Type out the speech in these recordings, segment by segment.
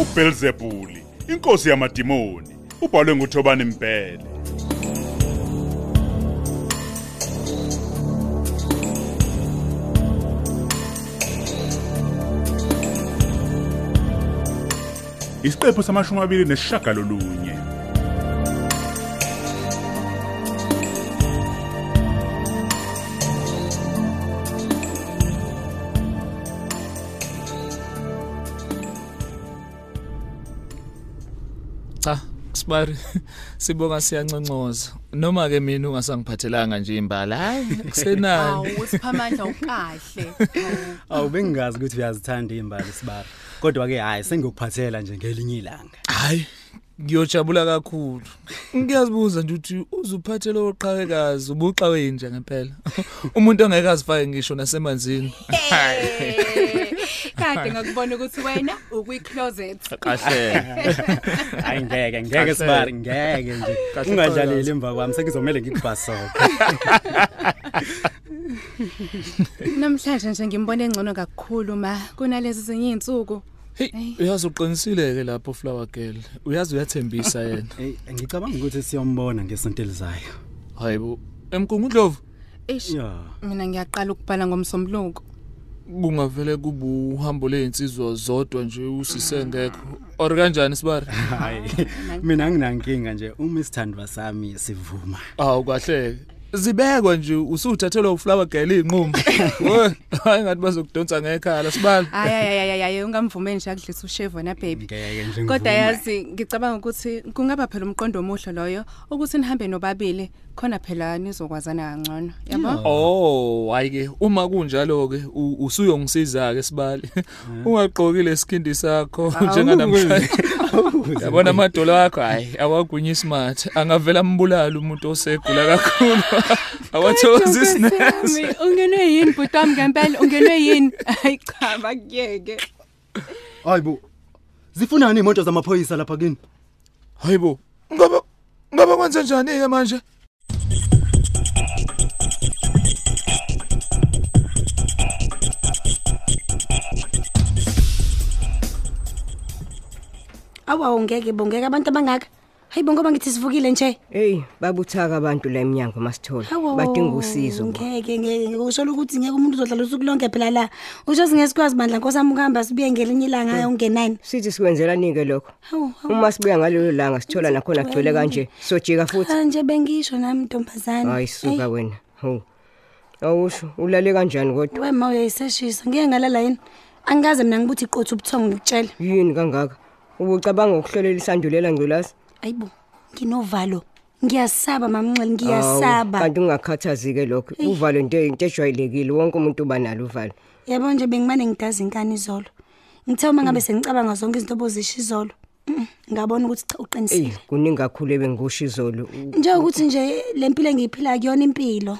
uBelzebuli, inkosi yamadimoni, ubhalwe nguThobani Mpele. Isiqephu samashumi amabili nesishagalolunye. cha sibari sibonga siyanconcoza noma ke mina ungasangiphathelanga nje imbali hayi kusenani Awu siphamandla ukahle. Awu bengingazi Oh, ukuthi uyazithanda imbali sibaba. Kodwa ke hayi sengiyokuphathela nje ngelinye ilanga. hayi ngiyojabula kakhulu ngiyazibuza nje ukuthi uzuphathele oqhakekazi ubuxa wenje ngempela umuntu ongeke azifake ngisho nasemanzini Kade ngakubona ukuthi wena ukwi closet. kahle Hayi ngeke ngeke Kahle. sibaba ngeke nje. Kahle Ungadlaleli emva kwami sekuzomela ngikubhasoka. Namhlanje nje ngimbone engcono kakhulu ma kunalezi zinye izinsuku. hey uyazi uqinisile ke lapho flower girl uyazi uyathembisa yena Eh ngicabanga ukuthi siyombona ngesonto elizayo. hayibo emkungundlovu Eish Yeah. mina ngiyaqala ukubhala ngomsombuluko. kungavele kube uhambo lensizwa zodwa nje usisengekho or kanjani sibari Hayi. Mina anginankinga nje uma isithandwa sami sivuma. Awu kahle. Zibekwa nje usuthathelwa uflower girl inqumo. Wo, hayi ngathi bazokudonsa ngekhala sibala. Hayi hayi hayi ungamvumeli nje akudlisa usheva na baby. Ngeke nje ngivume. Kodha yazi ngicabanga ukuthi kungaba phela umqondo omuhle loyo ukuthi nihambe nobabili khona phela nizokwazana kangcono yabo. Oh, hayi ke uma kunjalo ke usuyongisiza ke sibali. Eh. Ungaqhokile iskindi sakho njenganamhlanje. Yabona amadolo akho hayi awagunyi smart. Angavela ambulala umuntu osegula kakhulu. Awathozi isinesi. Sami, Ungenwe yini butami ngempela ungenwe yini? Hayi cha bakuyeke. Hayibo. Zifunani imoto zamaphoyisa lapha kini? Hayibo. Ngoba ngoba kwenze njani ke manje? awa ungeke bongeke abantu abangaka hayi bo ngoba ngithi sivukile nje Hey, babuthaka abantu la eminyango masithola. Awu, Badinga usizo. ngo. ngeke ngeke ngikushola ukuthi ngeke umuntu uzodlala usuku lonke phela la usho singesikwazi bandla nkosami ukuhamba sibuye ngelinye ilanga Hmm. ayongenani Sithi sikwenzela ninike lokho. hawu hawu Uma sibuya ngalelo langa sithola nakhona kugcwele kanje. Sojika futhi. cha Ah, nje bengisho nami ntombazane Hayi suka wena. Ho. Awusho ulale kanjani kodwa? we ma uyayiseshisa ngeke ngalala yini angikaze mina ngibuthi iqotha ubuthongo ngikutshela Yini kangaka? Ubucabanga ukuhlolela isandulela ngculazi? hayibo nginovalo ngiyasaba mamnxele ngiyasaba Awu, Kanti ungakhathazike lokho. Uvalo into into ejwayelekile. Wonke umuntu uba nalo uvalo. yabo nje bengimane ngidaza inkani izolo ngithe uma ngabe Hmm. sengicabanga zonke izinto obozisha izolo Mm, mm, ngabona ukuthi cha uqinisile Ey, kuningi kakhulu ebengikusho izolo. U- njengokuthi nje le mpilo engiyiphila kuyona impilo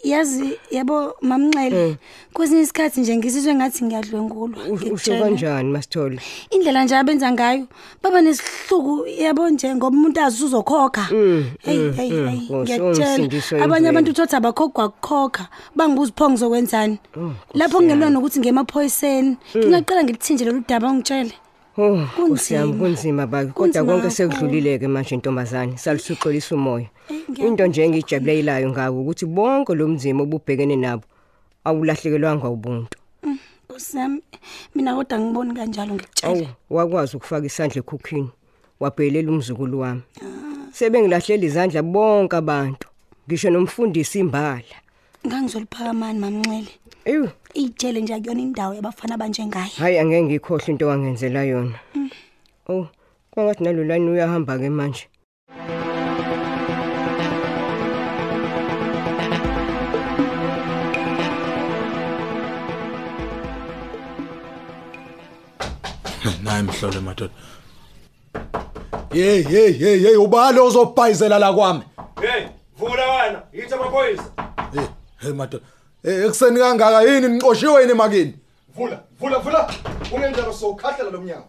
yazi yabo mamnxele kwesinye isikhathi nje ngizizwe ngathi ngiyadlwengulwa u- Mm. Usho ngikutshela. kanjani masithole? indlela nje abenza ngayo baba nesihluku yabo nje ngoba umuntu azi uzokhokha Mm, heyi heyi heyi Nkosi, ungisindise ngiyakutshela abanye imvelo. abantu uthotha abakhogwa kukhokha bangibuza pho ngizokwenzani Oh, lapho kungelwa nokuthi Mm. ngemaphoyiseni ngingaqela ngilithinje lolu daba ungitshele Oh, kusiyami Kunzima. kunzima baba kodwa Kunzima konke kakhulu. sekudlulileke manje ntombazane salisuxolisa umoya. Eh, ngiyabonga. Into nje engijabulelayo ngako ukuthi bonke lo mzimo obubhekene nabo awulahlekelwanga ubuntu. usami mina kodwa angiboni kanjalo ngikutshele Awu wakwazi ukufaka isandla ekhukhini wabhelela umzukulu wami. Ah. Sebengilahlela izandla bonke abantu ngisho nomfundisi imbala. ngangizoliphakamani mamnxele Eyu iyitshele nje akuyona indawo yabafana abanjengaye hayi angeke ngikhohle into wangenzela yona. Mm. Oh kwangathi nalolani uyahamba ke manje. naye mhlolo madoda hey hey hey hey ubalo uzobhayizela la kwami Hey, vula wena, yithi amaphoyisa. hey hey madoda hey ekuseni kangaka yini niqoshiwe yini makini Vula, vula, vula. Ungenjalo sokhahlela lomnyango.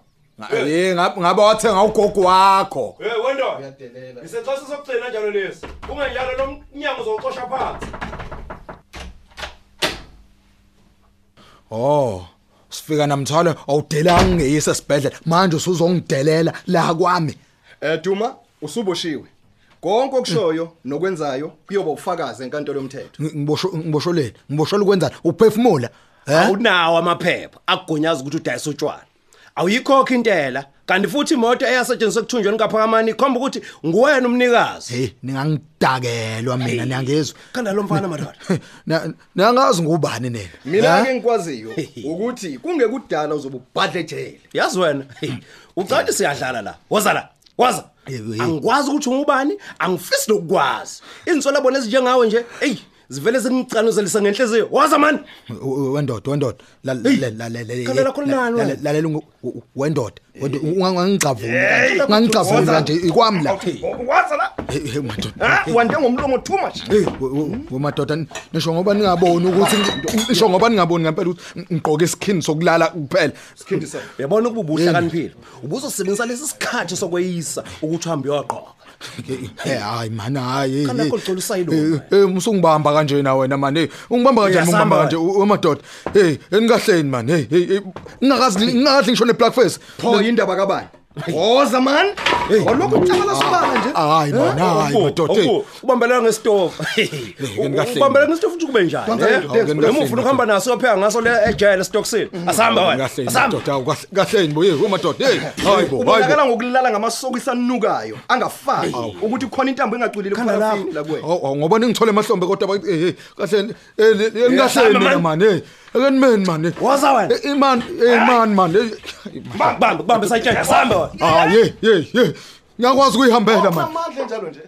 hey ngab- ngabe wathenga ugogo wakho Hey, wendo. Uyadelela. Isexoso sokugcina njalo lesi. Ungenjalo lomnyango uzoxosha phansi. oh sif- fika namthwalo awudelanga ungeyisa sibhedlela manje usuzongidelela la kwami Eh Duma usuboshiwe. Konke okushoyo nokwenzayo kuyoba ufakaze enkantolo yomthetho. Ngi- ngibosho- ngibosholeni ngiboshola ukwenzani uphefumula eh awunawo amaphepha akugunyaza ukuthi udayise utshwala awuyikhokha intela kanti futhi imoto eyasetshenziswa ekuthunjweni kaphakamani ikhomba ukuthi nguwena umnikazi hey ningangidakelwa mina niyangezwa kanti lo mfana madoda Na- nangazi ngubani nena Mina ha? ke ngikwaziyo ukuthi kungekudala uzobe ubhadle ejele. yazi wena hey, ucathi siyadlala la woza la woza Ewe, hey. angikwazi ukuthi ungubani angifisi lokukwazi izinsolabona ezinjengawe nje eyi zivele zingicanuzelise ngenhliziyo woza mani W- w- wendoda wendoda Hey, khalela khona nani wena? lalela wendoda wendoda, ungangicavuni kanje, ungangicavuni kanje ikwami la Waza la. Hey, hey, madoda Ah, wande ngomlomo too much. Hey, we- we- we madoda n- nisho ngoba ningaboni ukuthi ngi- nisho ngoba ningaboni ngempela ukuthi ng- ngigqoke isikhini sokulala kuphela Sikhindisa. uyabona ukuba ubuhle Hey. kaniphile ubuzosebenzisa lesi sikhathi sokweyisa ukuthi uhambe uyogqoka Eh, hayi mani hayi Khona kugcwele usayilo, man. musungibamba kanje na wena mani hey ungibamba kanjani ungibamba Uyasamba wena. kanje u- wemadoda hey enikahleni mani hey, hey hey, ngingakazi ngingakazi ngisho neblackface Pho indaba kabani? Woza man. Walokhu ucabala sibala nje. hayi mani hayi madoda hey. ubambelela ngesitofu kahle. ubambelela ngesitofu ukuthi kube njani Dwansa eh? into, dwansa into. noma ufuna ukuhamba naso uyopheka ngaso le ejele esitokisini asihamba wena kahleni asihamba madoda awu, kahle- kahleni bo hey wemadoda hey hayi bo hayi bo Ubonakala ngokulala ngamasokisi anukayo angafani ukuthi khona intambo engaculile kuphakathi la kuwe. Awu, awu, ngoba ningithole emahlombe kodwa ba- eh, eh, kahleni eh, ni- eh, nikahleni hamba, mina eh, man. mani hey akenimeni mani Woza Eh, wena. imani imani mani hey, hayi, man. bamba bamba sayitshela asihamba wena hayi hey, hey hey ngiyakwazi ukuyihambela mani Amandla njalo nje.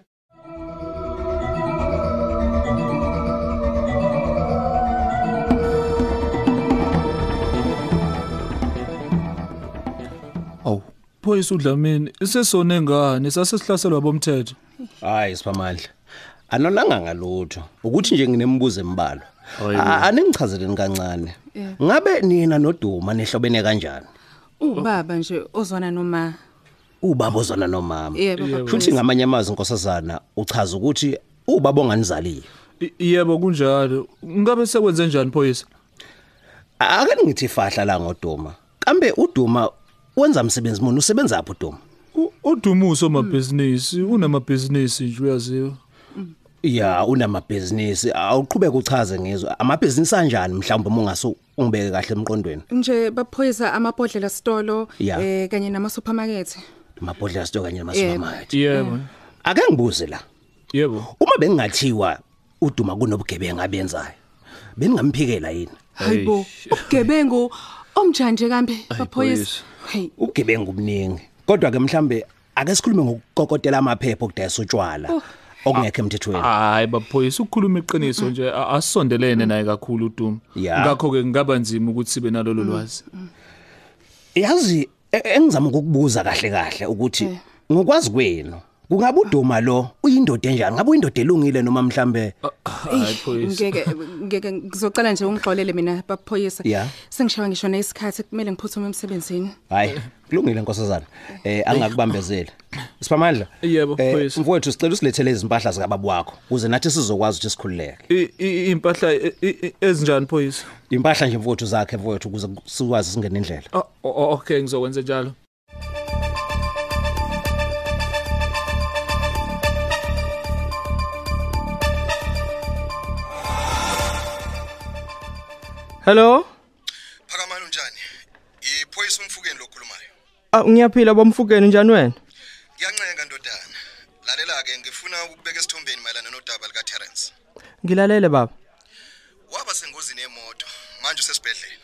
Aw, phoyisa uDlamini, sesone ngane sasesihlaselwa bomthetho. hayi siphamandla anonanga ngalutho ukuthi nje nginemibuzo embalwa A- aningichazeleni kancane ngabe nina noduma nihlobene kanjani ubaba nje ozwana noma ubaba ozana nomama Yebo, baba. futhi ngamanye amazwi inkosazana uchaza ukuthi ubaba onganizaliyo I- Yebo kunjalo. Ngabe sekwenze njani phoyisa? ake ningithi fahla la ngoduma kambe uduma wenza msebenzi muni usebenza apho uduma U- Udumuso mabhizinisi, unamabhizinisi nje uyaziwa. ya unamabhizinisi awuqhubeka uchaze ngizwe amabhizinisi anjani mhlawumbe mongase ungibeke kahle emqondweni nje baphoyisa amabhodlela stolo Ya. eh kanye nama-supermarket amabhodlela sto kanye namasupermarket Yebo. ake ngibuze la Yebo. uma bengingathiwa uduma kunobugebengu abenzayo beningamphikela yini hayibo ubugebengu omjanje kambe baphoyisa phoyisa. hey ugebengu buningi kodwa ke mhlambe ake sikhulume ngokukokotela amaphepha okudayisa utshwala Oh. okungekho emthethweni Hayi baphoyisa ukukhuluma iqiniso nje a- asondelene naye kakhulu uDuma. Ya. Ngakho ke ngaba nzima ukuthi sibe nalolu lwazi. yazi e- engizama ukukubuza kahle kahle Eh. ukuthi ngokwazi kwenu kungabe uduma lo uyindoda enjani ngabe uyindoda elungile noma mhlambe Ah, Hayi phoyisa. ngeke ngeke ngizocela nje ungixolele mina baphoyisa Ya. sengishawa ngisho nesikhathi kumele ngiphuthume emsebenzini hayi kulungile nkosazana eh angakubambezeli siphamandla Yebo, Eh, Phoyisa. mfowethu sicela usilethele izimpahla zikababa wakho ukuze nathi sizokwazi ukuthi sikhululeke I- i- Impahla e- e- e- ezinjani phoyisa? impahla nje mfowethu zakhe mfowethu ukuze sikwazi singena indlela Ah, o- o- Okay ngizokwenza njalo. Hello? Phakamani unjani? Iphoyisa umfukeni lokhulumayo. Ah ngiyaphila bomfukeni njani wena? Ngiyancenga ndodana. Lalela ke ngifuna ukubeka esithombeni mayelana nodaba lika Terence. Ngilalele baba. Waba sengozini yemoto, manje usesibhedlela.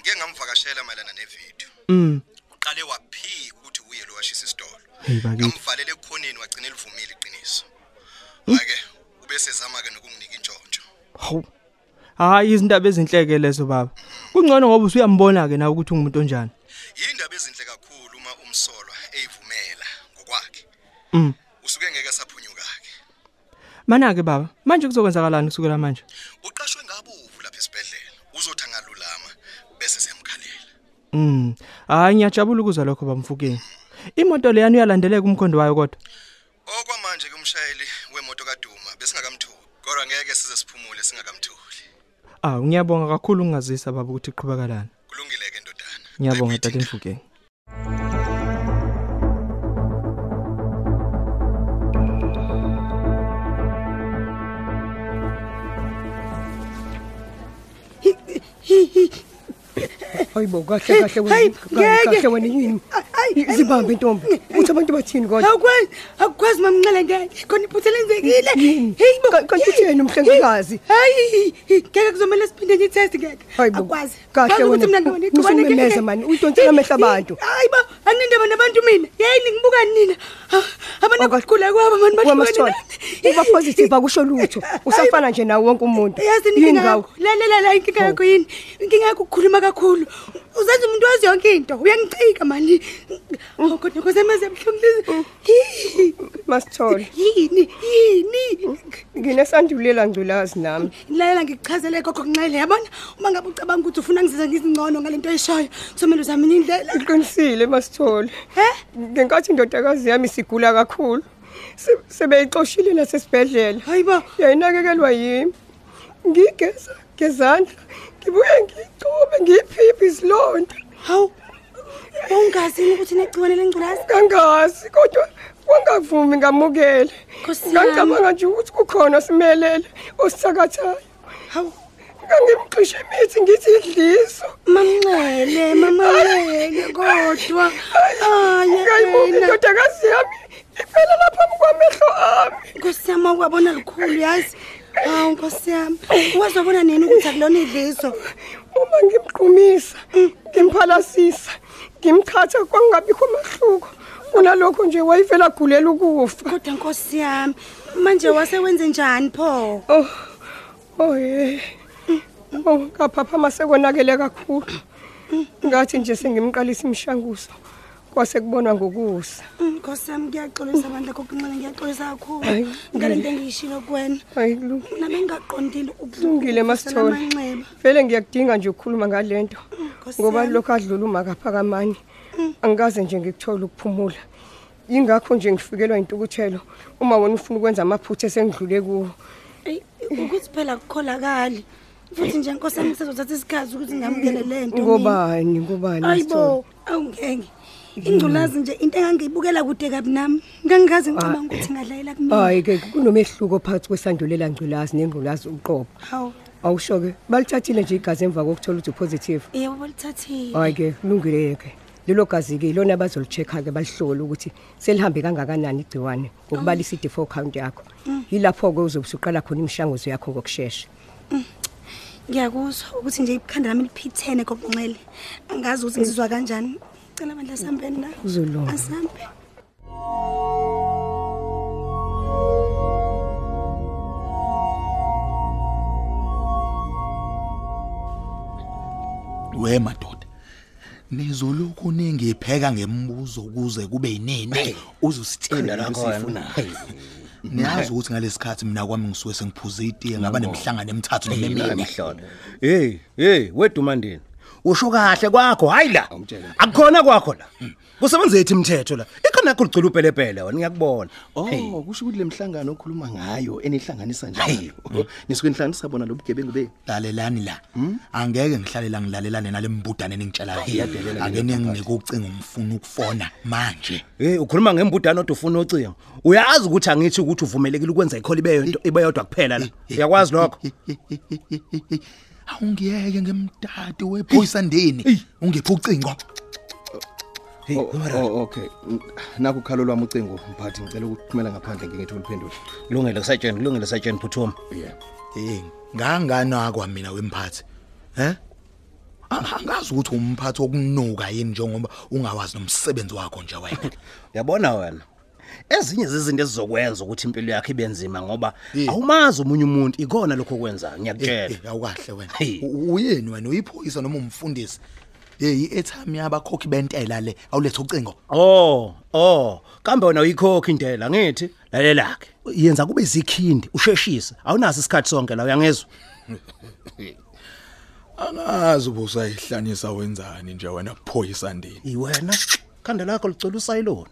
Ngike ngamvakashela mayelana nevideo. Mm. Uqale waphika ukuthi uye lo washisa isitolo. Hey bakithi. Ngamvalela ekhoneni wagcina elivumile iqiniso. Ake Hmm? ubese zama ke nokunginika intshontsho. Hawu. Hayi izindaba ezinhleke lezo baba. Kungcono ngoba usuyambona ke na ukuthi ungumuntu onjani. Yindaba ezinhle kakhulu uma umsolwa eyivumela ngokwakhe. Mm. Usuke ngeke saphunyuka ke. Mana ke baba, manje kuzokwenzakalani kusukela manje? Uqashwe ngabovu lapha esibhedlela. Uzothi angalulama bese siyamkhalela. Mm. Hayi ngiyajabula ukuzwa lokho bamfukeni. Imoto leyani uyalandeleka umkhondo wayo kodwa. Okwamanje ke umshayeli wemoto kaDuma besingakamthuli. Kodwa ngeke size siphumule singakamthuli. Ah ngiyabonga kakhulu ungazisa baba ukuthi iqhubeka lana. Kulungile ke ngiyabonga tata mfukeni Hayibo kahle kahle wena. Kahle wena yini? Izibambe intombi. Uthi abantu bathini kodwa? Awukwazi, akukwazi mamncele ngeke. Khona iphutha lenzekile. Hey bo, kanti utheni umhlengikazi? Hey, ngeke kuzomela siphinde nje test ngeke. Akwazi. Kahle Yazi ukuthi mina wena. ngibona igcubane Usumemeza ngeke. mani, udonsela amehlo abantu. Hayi bo, anginindaba nabantu mina. Hey, ningibuka nina. Ah, Abantu abakhula kwabo mani Wamasithole. Uba positive akusho lutho. Usafana nje nawo wonke umuntu. Oh. Yazi Yini inkinga ngawe? yakho. La la la la inkinga yakho yini? Inkinga yakho ukukhuluma kakhulu. Uzenza umuntu wazi yonke into. Uyangichika mani. Oh. Ngokuthi kusemeze mhlongizi. Masithole. Yini? Yini? Nginesandulela ngculazi nami. Lalela ngikuchazele kokho kunxele yabona uma ngabe ucabanga ukuthi ufuna ngizise ngizingcono ngalento eyishayo kusomele uzame enye indlela. Uqinisile Masithole. He? Ngenkathi indodakazi yami sigula kakhulu. se- Sebeyixoshile nasesibhedlela. Hayibo, yayinakekelwa yimi. Ngigeza ngezandla. Ngibuye ngigcobe ngiyiphiphi izilonda. Hawu. Wawungazini ukuthi negciwane lengculazi? Kangazi kodwa wangavumi ngamukele. Nkosi yami. Ngicabanga nje ukuthi kukhona simelele osithakathayo. Hawu. Ngangimxishe imithi ngithi idliso. Mamncele, mamncele kodwa. Hayi, Ngayibona yena. indodakazi yami. Iphela lapha kwamehlo ami. Nkosi yami wakwabona likhulu yazi. Hawu nkosi yami. Wazobona nini ukuthi akulona idliso? Uma ngimqhumisa, ngimphalasisa, ngimchatha kwangabikho mahluko. Kunalokho nje wayivela gulela ukufa. Kodwa nkosi yami, manje wase wenze njani pho? Oh. Oh eh. Oh kaphapha masekonakele kakhulu. Ngathi nje sengimqalisa imshanguzo. Kwase kubonwa ngokusa. Mm, Nkosi yami ngiyaxolisa bandla kokunxele ngiyaxolisa kakhulu. Hayi. Ngale nto engiyishilo kuwena. Hayi kulungile. Mina bengingaqondile ukulungile Kulungile Masithole. Vele ngiyakudinga nje ukukhuluma ngalento. Nkosi Ngoba yami. lokho adlula umagaphakamani. Angikaze nje ngikuthola ukuphumula. Yingakho nje ngifikelwa intukuthelo uma wena ufuna ukwenza amaphutha esengidlule kuwo. Eyi, ukuthi phela akukholakali futhi nje nkosi yami kusezothatha isikhathi ukuthi ngamukele le nto mina. Ngobani ngobani Masithole? ayibo awungenge ingculazi nje into engangiyibukela kude kabi nami ngangingazi ngicabanga ukuthi ngadlayela kumina Hayi ke kunomehluko phakathi kwesandulela ngculazi nengculazi uqobo. hawu Awusho ke balithathile nje igazi emva kokuthola ukuthi positive. yebo balithathile Hayi ke kulungile ke. Lelo gazi ke ilona abazolichecka ke balihlola ukuthi selihambe kangakanani igciwane ngokubalisa i-default count yakho. Yilapho ke uzobusuqala khona imishanguzo yakho ngokusheshsha. ngiyakuzwa ukuthi nje ikhanda lami liphithene kokunxele angazi ukuthi ngizizwa kanjani cela bandla sihambeni na Uzolunga. asihambe we madoda nizolokhu ningipheka ngembuzo kuze kube yinini uze usithembe Qhinda lokho lakhona. esifunayo niyazi ukuthi ngalesikhathi mina kwami ngisuke sengiphuze itiye ngaba nemihlangano emithathu nemine Ngihlole. Hey, hey, wedumandeni. Usho kahle kwakho, hayi la. Oh, Akukhona kwakho la. Mm. Kusebenza ethi imithetho la. Ikhona yakho licula upelepele wena ngiyakubona. Oh, kusho ukuthi lemhlangano okhuluma ngayo enihlanganisa njalo. Oh, Nisuke nihlanganisa bona lobugebengu be. lalelani la Hmm? angeke ngihlale la ngilalelane nale mbudane eningitshelayo Iyadelela ake ninginike ucingo ngifuna ukufona manje Hey, ukhuluma ngembudana odwa ufuna ocingo. Uyazi ukuthi angithi ukuthi uvumelekile ukwenza ikholi ibe yonto ibe yodwa kuphela la. Uyakwazi lokho? awungiyeke ngemdadi wephoyisandeni ungipha ucingo Hey, okay. Naku khalo lwami ucingo, mphathi ngicela ukuthumela ngaphandle ngeke ngithi uliphendule. Kulungile kusatsheni, kulungile satsheni phuthuma. Yeah. hey nganganakwa Eh, mina wemphathi he A- angazi ukuthi umphathi okunuka yini njengoba ungawazi nomsebenzi wakho nje wena Uyabona wena. Ezinye zezinto ezizokwenza ukuthi impilo yakhe ibe nzima ngoba awumazi umunye umuntu ikona lokho okwenza ngiyakutshela. Eh, eh, awukahle wena U- uyeni wena uyiphoyisa noma umfundisi hey i-airtime yabakhokhi bentela le awulethe ucingo Oh, oh, kambe wena uyikhokha indlela ngithi lalelakhe. Yenza kube izikhindi, usheshisa. Awunaso isikhathi sonke la uyangezwa. angazi ubusayihlanisa wenzani nje wena phoyisandeni Iwena khanda lakho licela usayilona.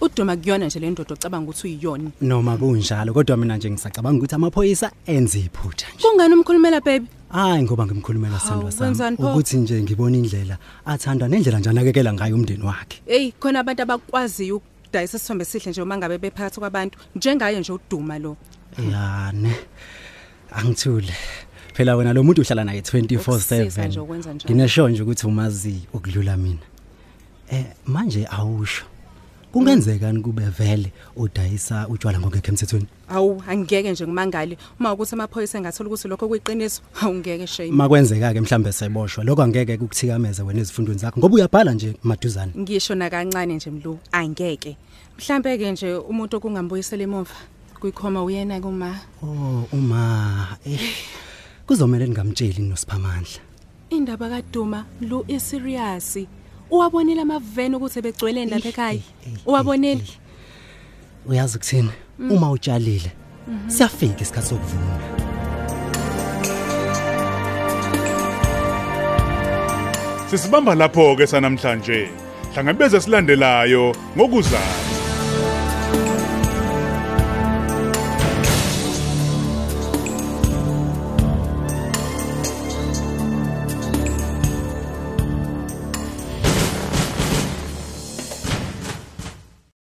ukuduma kuyona nje le ndoda ocabanga ukuthi uyiyona noma kunjalo kodwa mina nje ngisacabanga ukuthi amaphoyisa enze iphutha kungani umkhulumela baby hayi ngoba ngimkhulumela sandwa Hawu, wenzani sami pho? ukuthi nje ngibona indlela athandwa nendlela nje anakekela ngayo umndeni wakhe eyi khona abantu abakwaziyo ukudayisa isithombe esihle nje uma ngabe bephakathi kwabantu njengaye nje uduma lo yane angithule phela wena lo muntu uhlala naye Ukusisa nje 24/7 ukwenza njalo. nginesho nje ukuthi umazi ukudlula mina eh manje awusho kungenzekani kube vele udayisa utshwala ngokekho emthethweni awu angeke nje ngimangale uma ukuthi amaphoyisa engathola ukuthi lokho kuyiqiniso awungeke shame makwenzeka ke mhlambe seboshwa lokho angeke ukuthikameze wena ezifundweni zakho ngoba uyabhala nje maduzane ngisho nakancane nje mlu angeke mhlampe-ke nje umuntu okungambuyisela emuva kwikhoma uyena kuma oh uma eh kuzomela ningamtsheli nosiphamandla indaba kaduma mlu isiriyasi uwabonile amaveni ukuthi ebegcweleni lapha ekhaya uwabonile uyazi ukuthini Mm. uma utshalile Mhm. siyafika isikhathi sokuvuna sisibamba lapho-ke sanamhlanje hlangabeze silandelayo ngokuzayo